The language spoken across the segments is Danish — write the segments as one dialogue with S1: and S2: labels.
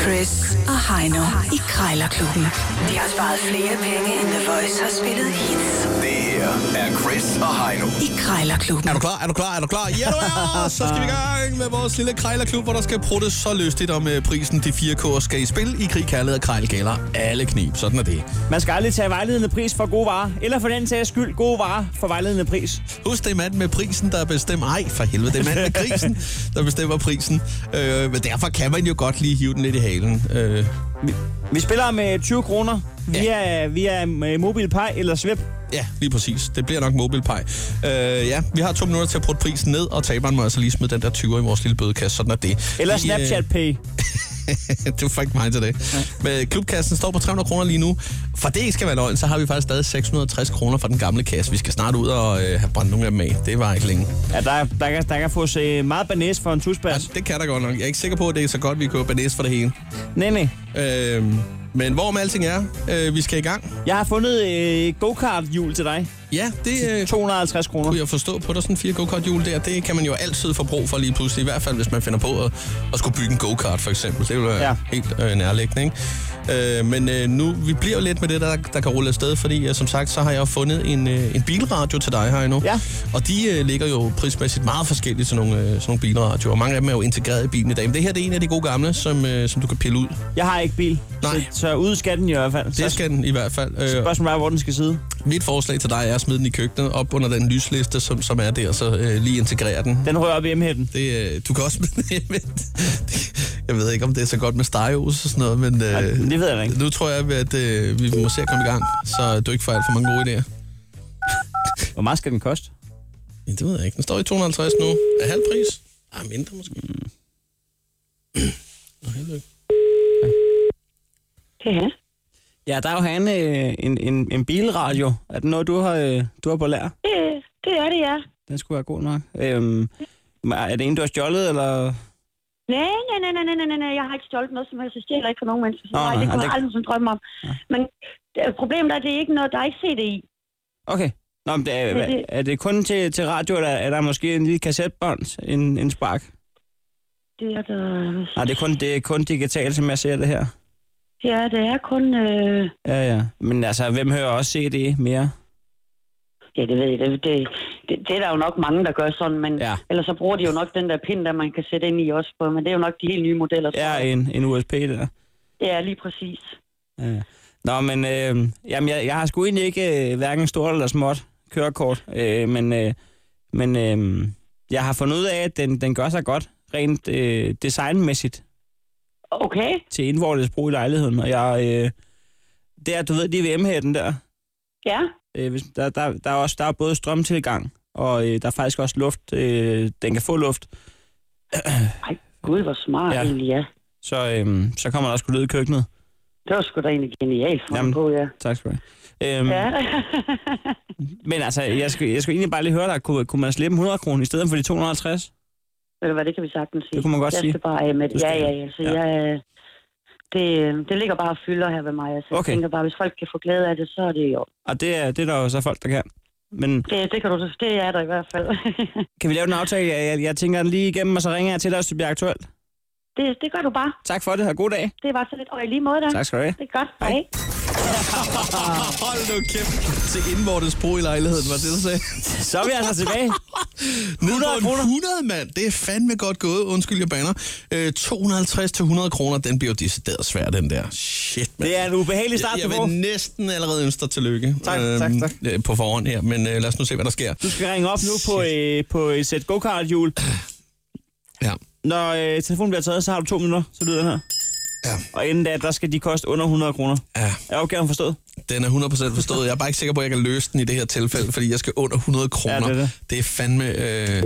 S1: Chris og Heino i Krejlerklubben. De har sparet flere penge, end The Voice har spillet hits
S2: Det her er Chris og Heino.
S1: i Krejlerklubben.
S3: Er du klar? Er du klar? Er du klar? Ja, du er! Så skal vi i gang med vores lille krejlerklub, hvor der skal pruttes så lystigt om øh, prisen. De fire kår skal i spil i krig, kærlighed og krejlgælder. Alle knib. Sådan er det.
S4: Man skal aldrig tage vejledende pris for gode varer, eller for den sags skyld gode varer for vejledende pris.
S3: Husk, det er manden med prisen, der bestemmer... Ej, for helvede, det er manden med prisen, der bestemmer prisen. Øh, men derfor kan man jo godt lige hive den lidt i halen. Øh,
S4: Vi spiller med 20 kroner via, ja. via øh, MobilePay eller Svip.
S3: ja, lige præcis. Det bliver nok mobilpej. Øh, ja, vi har to minutter til at prutte prisen ned, og taberen må altså lige smide den der 20'er i vores lille bødekasse. Sådan er det.
S4: Eller
S3: Vi, øh,
S4: Snapchat Pay.
S3: du fik mig til det. Ja. Men klubkassen står på 300 kroner lige nu. For det ikke skal være løgn, så har vi faktisk stadig 660 kroner fra den gamle kasse. Vi skal snart ud og øh, have brændt nogle af dem af. Det var ikke længe.
S4: Ja, der, der, kan, der kan få se meget banæs for en tusbas.
S3: Altså, det kan der godt nok. Jeg er ikke sikker på, at det er så godt, vi køber banæs for det hele.
S4: Nej, nej.
S3: Øh, men hvorom alting er, øh, vi skal i gang.
S4: Jeg har fundet øh, go-kart-hjul til dig.
S3: Ja, det øh,
S4: 250 kroner.
S3: kunne jeg forstå på dig, sådan fire go-kart hjul der. Det kan man jo altid få brug for lige pludselig. I hvert fald, hvis man finder på at, at skulle bygge en go-kart, for eksempel. Det vil være ja.
S4: Ja.
S3: helt øh, nærliggende, ikke? Øh, men øh, nu, vi bliver jo lidt med det, der, der kan rulle afsted, fordi øh, som sagt, så har jeg jo fundet en, øh, en bilradio til dig her endnu.
S4: Ja.
S3: Og de øh, ligger jo prismæssigt meget forskelligt, sådan nogle, øh, sådan nogle bilradioer. Mange af dem er jo integreret i bilen i dag. Men det her det er en af de gode gamle, som, øh, som du kan pille ud.
S4: Jeg har ikke bil,
S3: Nej.
S4: så, så ude skal den i hvert fald. Så
S3: Det skal den i hvert fald. Øh,
S4: spørgsmålet er, hvor den skal sidde.
S3: mit forslag til dig er at smide den i køkkenet, op under den lysliste, som, som er der, så øh, lige integrere den.
S4: Den rører op i emheden.
S3: Det, øh, du kan også med det, men, Jeg ved ikke, om det er så godt med stegeos og sådan noget, men...
S4: Ej,
S3: Øh,
S4: det ved jeg da ikke.
S3: Nu tror jeg, at øh, vi må se at komme i gang, så du ikke får alt for mange gode idéer.
S4: Hvor meget skal den koste?
S3: Ja, det ved jeg ikke. Den står i 250 nu. Er halv pris? Ah, mindre måske.
S4: Mm.
S3: Nå, held og lykke.
S5: Ja,
S4: Ja, der er jo han øh, en, en, en bilradio. Er det noget, du har, øh, du har på lær?
S5: det, det er det, ja.
S4: Den skulle være god nok. Øhm, er det en, du har stjålet, eller...
S5: Nej, nej, nej, nej, nej, nej, nej, jeg har ikke stjålet noget som helst. Jeg stjæler ikke fra nogen mennesker. Så
S4: Nå,
S5: nej,
S4: nej,
S5: det
S4: nej,
S5: kunne
S4: det-
S5: jeg aldrig som drømme om. Men øh, problemet er, at det er ikke noget, der er ikke set det i.
S4: Okay. Nå, men det er,
S5: Men det-
S4: er det kun til, til radio, eller er der måske en lille kassettbånd, en, en spark?
S5: Det er der...
S4: Nej, det er kun, det er kun digitalt, som jeg ser det her.
S5: Ja, det er kun... Øh...
S4: Ja, ja. Men altså, hvem hører også CD mere?
S5: Ja, det ved jeg. Det, det, det, det, er der jo nok mange, der gør sådan, men
S4: Ja.
S5: ja. ellers så bruger de jo nok den der pind, der man kan sætte ind i også på, men det er jo nok de helt nye modeller. tror
S4: Ja,
S5: jeg.
S4: en, en USB der.
S5: ja lige præcis.
S4: Ja, ja. Nå, men øh, jamen, jeg, jeg har sgu egentlig ikke øh, hverken stort eller småt kørekort, øh, men, øh, men øh, jeg har fundet ud af, at den, den gør sig godt rent øh, designmæssigt
S5: Okay,
S4: til indvortes brug i lejligheden, og jeg, øh, der, du ved, lige ved M-hætten der,
S5: ja.
S4: øh, hvis, der, der, der, er også, der er både strømtilgang, og øh, der er faktisk også luft, øh, den kan få luft,
S5: Ej, gud, hvor smart
S4: Ja.
S5: ja. egentlig, ja.
S4: så, øh, så kommer der også lyd i køkkenet.
S5: Det var sgu da egentlig genialt for
S4: Jamen.
S5: på, ja.
S4: Tak skal du have. Øhm,
S5: Ja,
S4: Men altså, jeg skal, jeg skal egentlig bare lige høre dig, kunne, kunne man slippe 100 kroner i stedet for de 250?
S5: ved du hvad, det kan vi sagtens sige.
S4: Det kunne man godt
S5: jeg
S4: sige.
S5: skal bare af med
S4: Du
S5: det.
S4: skal
S5: Ja,
S4: af.
S5: ja, ja. Så
S4: Ja.
S5: ja. Jeg, øh, det, øh, det ligger bare og fylder her ved mig. Altså, okay.
S4: Okay.
S5: Jeg tænker bare, hvis folk kan få glæde af det, så er det jo...
S4: Og det er, det er der jo så folk, der kan. Men
S5: Det, det, kan du, det er der i hvert fald.
S4: kan vi lave en aftale? Jeg, jeg, jeg tænker den lige igennem, og så ringer jeg til dig, hvis det bliver aktuelt.
S5: det, det gør du bare.
S4: Tak for det, og god dag.
S5: Det er bare så lidt. Og i lige måde, da.
S4: Tak skal du have.
S5: Det er godt. Hej. Hej.
S3: Hold nu kæft til indvortes brug i lejligheden, var det, du sagde.
S4: Så er vi altså tilbage.
S3: Ned på
S4: 100
S3: en
S4: kroner.
S3: 100, mand. Det er fandme godt gået. Undskyld, jeg banner. Øh, 250 til 100 kroner, den bliver jo decideret svær, den der. Shit, mand.
S4: Det er en ubehagelig start,
S3: Jeg,
S4: du
S3: jeg
S4: får.
S3: vil næsten allerede ønske dig tillykke
S4: Tak, tak, tak.
S3: øh, på forhånd her, men øh, lad os nu se, hvad der sker.
S4: Du skal ringe op nu på, øh, på et sæt go-kart-hjul.
S3: Ja.
S4: Når øh, telefonen bliver taget, så har du to minutter, så lyder den her.
S3: Ja.
S4: Og inden da, der skal de koste under 100 kroner.
S3: ja,
S4: Er opgaven forstået?
S3: den er 100% forstået. Jeg er bare ikke sikker på, at jeg kan løse den i det her tilfælde, fordi jeg skal under 100 kroner.
S4: Ja, det er det.
S3: det er fandme... Øh...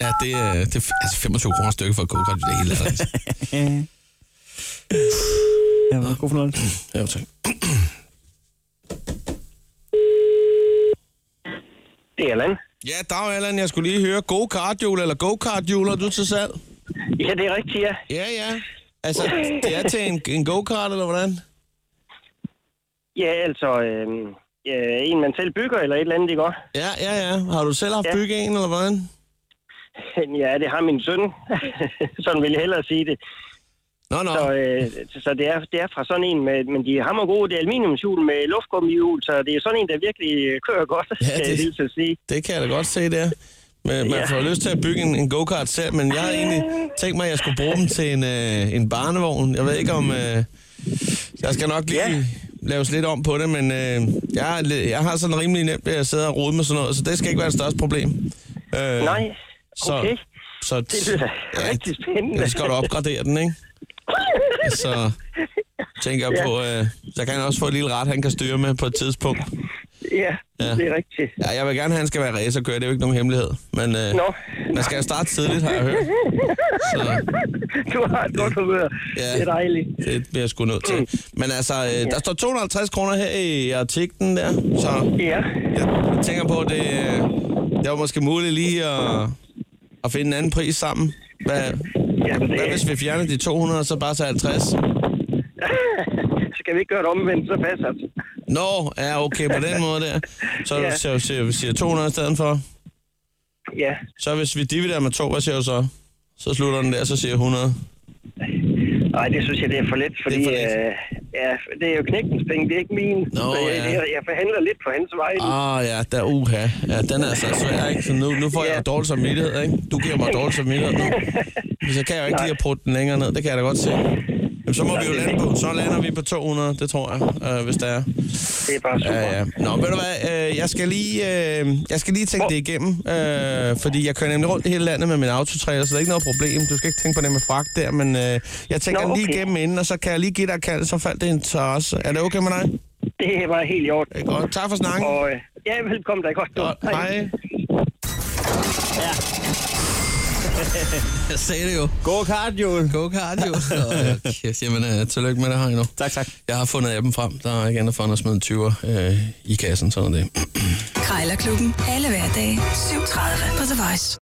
S3: Ja, det er, det er altså 25 kroner stykke for et go-kart. Det er helt latterligt.
S4: Øh. Ja, men god fornøjelse.
S3: Ja, tak.
S6: Det er Allan.
S3: Ja, dag Allan, jeg skulle lige høre go-kart-hjul eller go-kart-hjul, er du til salg?
S6: Ja, det er rigtigt, ja.
S3: Ja, ja. Altså, det er til en, en go-kart, eller hvordan?
S6: Ja, altså, øh, øh, en man selv bygger eller et eller andet, ikke også?
S3: Ja, ja, ja. Har du selv haft ja.
S6: Ja.
S3: bygget en, eller hvordan?
S6: Ja, det har min søn. Sådan vil jeg hellere sige det.
S3: Nå, nå.
S6: Så, øh, så- så det, er, det er fra sådan en, med, men de er hammergode. Det er aluminiumshjul med luftgummihjul, så det er sådan en, der virkelig øh, kører godt,
S3: Ja,
S6: ja, det... skal jeg
S3: det-
S6: hilse at sige.
S3: Det kan jeg da godt se der. Men, man
S6: Ja.
S3: får jo lyst til at bygge en, en go-kart selv, men jeg har egentlig tænkt mig, at jeg skulle bruge dem til en, øh, en barnevogn. Jeg ved ikke om... Øh, jeg skal nok lige
S6: Ja.
S3: laves lidt om på det, men øh, jeg, har, lidt- jeg har sådan rimelig nemt ved at sidde og rode med sådan noget, så det skal ikke være det største problem. Øh,
S6: Nej,
S3: Så,
S6: okay.
S3: så
S6: Det lyder rigtig spændende.
S3: Ja, vi skal godt opgradere den, ikke? Så tænker jeg
S6: Ja.
S3: på... Øh, så kan han også få et lille ret, han kan styre med på et tidspunkt.
S6: Ja,
S3: Ja.
S6: ja, det er rigtigt.
S3: Ja, jeg vil gerne have, at han skal være racerkører. Det er jo ikke nogen hemmelighed. Men øh,
S6: Nå.
S3: man skal jo starte tidligt, har jeg hørt. Så
S6: Du har et godt humør.
S3: Ja.
S6: Ja. Det er dejligt.
S3: det bliver jeg sgu nødt til. Men altså, øh, der står 250 kroner her i artiklen der. Så
S6: Ja,
S3: jeg tænker på, at det, øh, det var måske muligt lige at, at finde en anden pris sammen. Hvad,
S6: ja det,
S3: hvad hvis vi fjerner de 200, og så bare så 50?
S6: skal vi ikke gøre det omvendt, så passer det.
S3: Nå, ja, okay, på den måde der. Så
S6: Ja.
S3: så- så- vi siger 200 i stedet for.
S6: Ja,
S3: Så hvis vi dividerer med to, hvad siger du så? Så slutter den der, så siger jeg 100.
S6: Nej, det synes jeg, det er for let, fordi
S3: Det
S6: det
S3: er
S6: er,
S3: for let.
S6: Øh, ja, det er jo knægtens penge, det er ikke min.
S3: Nå,
S6: så jeg,
S3: ja.
S6: jeg, jeg forhandler lidt på hans vej.
S3: Ah
S6: Ah.
S3: ja, der uha. Ja, den er altså svær, ikke? Så nu, nu får jeg
S6: Ja.
S3: jo dårlig samvittighed, ikke? Du giver mig dårlig samvittighed nu. Men så kan jeg jo ikke lige at prutte den længere ned, det kan jeg da godt se. Jamen, så må vi jo lande på, så lander vi på 200, det tror jeg, øh, hvis der er.
S6: Det er bare super.
S3: Ja, ja. Nå, ved du hvad, øh, jeg skal lige, øh, jeg skal lige tænke det igennem, øh, fordi jeg kører nemlig rundt i hele landet med min autotrailer, så det er ikke noget problem. Du skal ikke tænke på det med fragt der, men øh, jeg tænker
S6: Nå,
S3: Nå, okay. lige
S6: okay.
S3: igennem inden, og så kan jeg lige give dig et kald, så faldt det en interesse. Er det okay med dig?
S6: Det er bare helt i orden.
S3: Det er Godt, tak for snakken.
S6: Og øh, ja, velkommen dig godt. du.
S3: Godt, hej. Jeg sagde det jo.
S4: God kart, Joel.
S3: Go-kart jo. Nå, kæft. Jamen, øh, tillykke med det, Heino.
S4: Tak, tak.
S3: Jeg har fundet appen frem. Der er ikke andet for end at smide en 20'er øh, i kassen, sådan er det.
S1: Krejlerklubben. Alle hverdage. 7.30 på The Voice.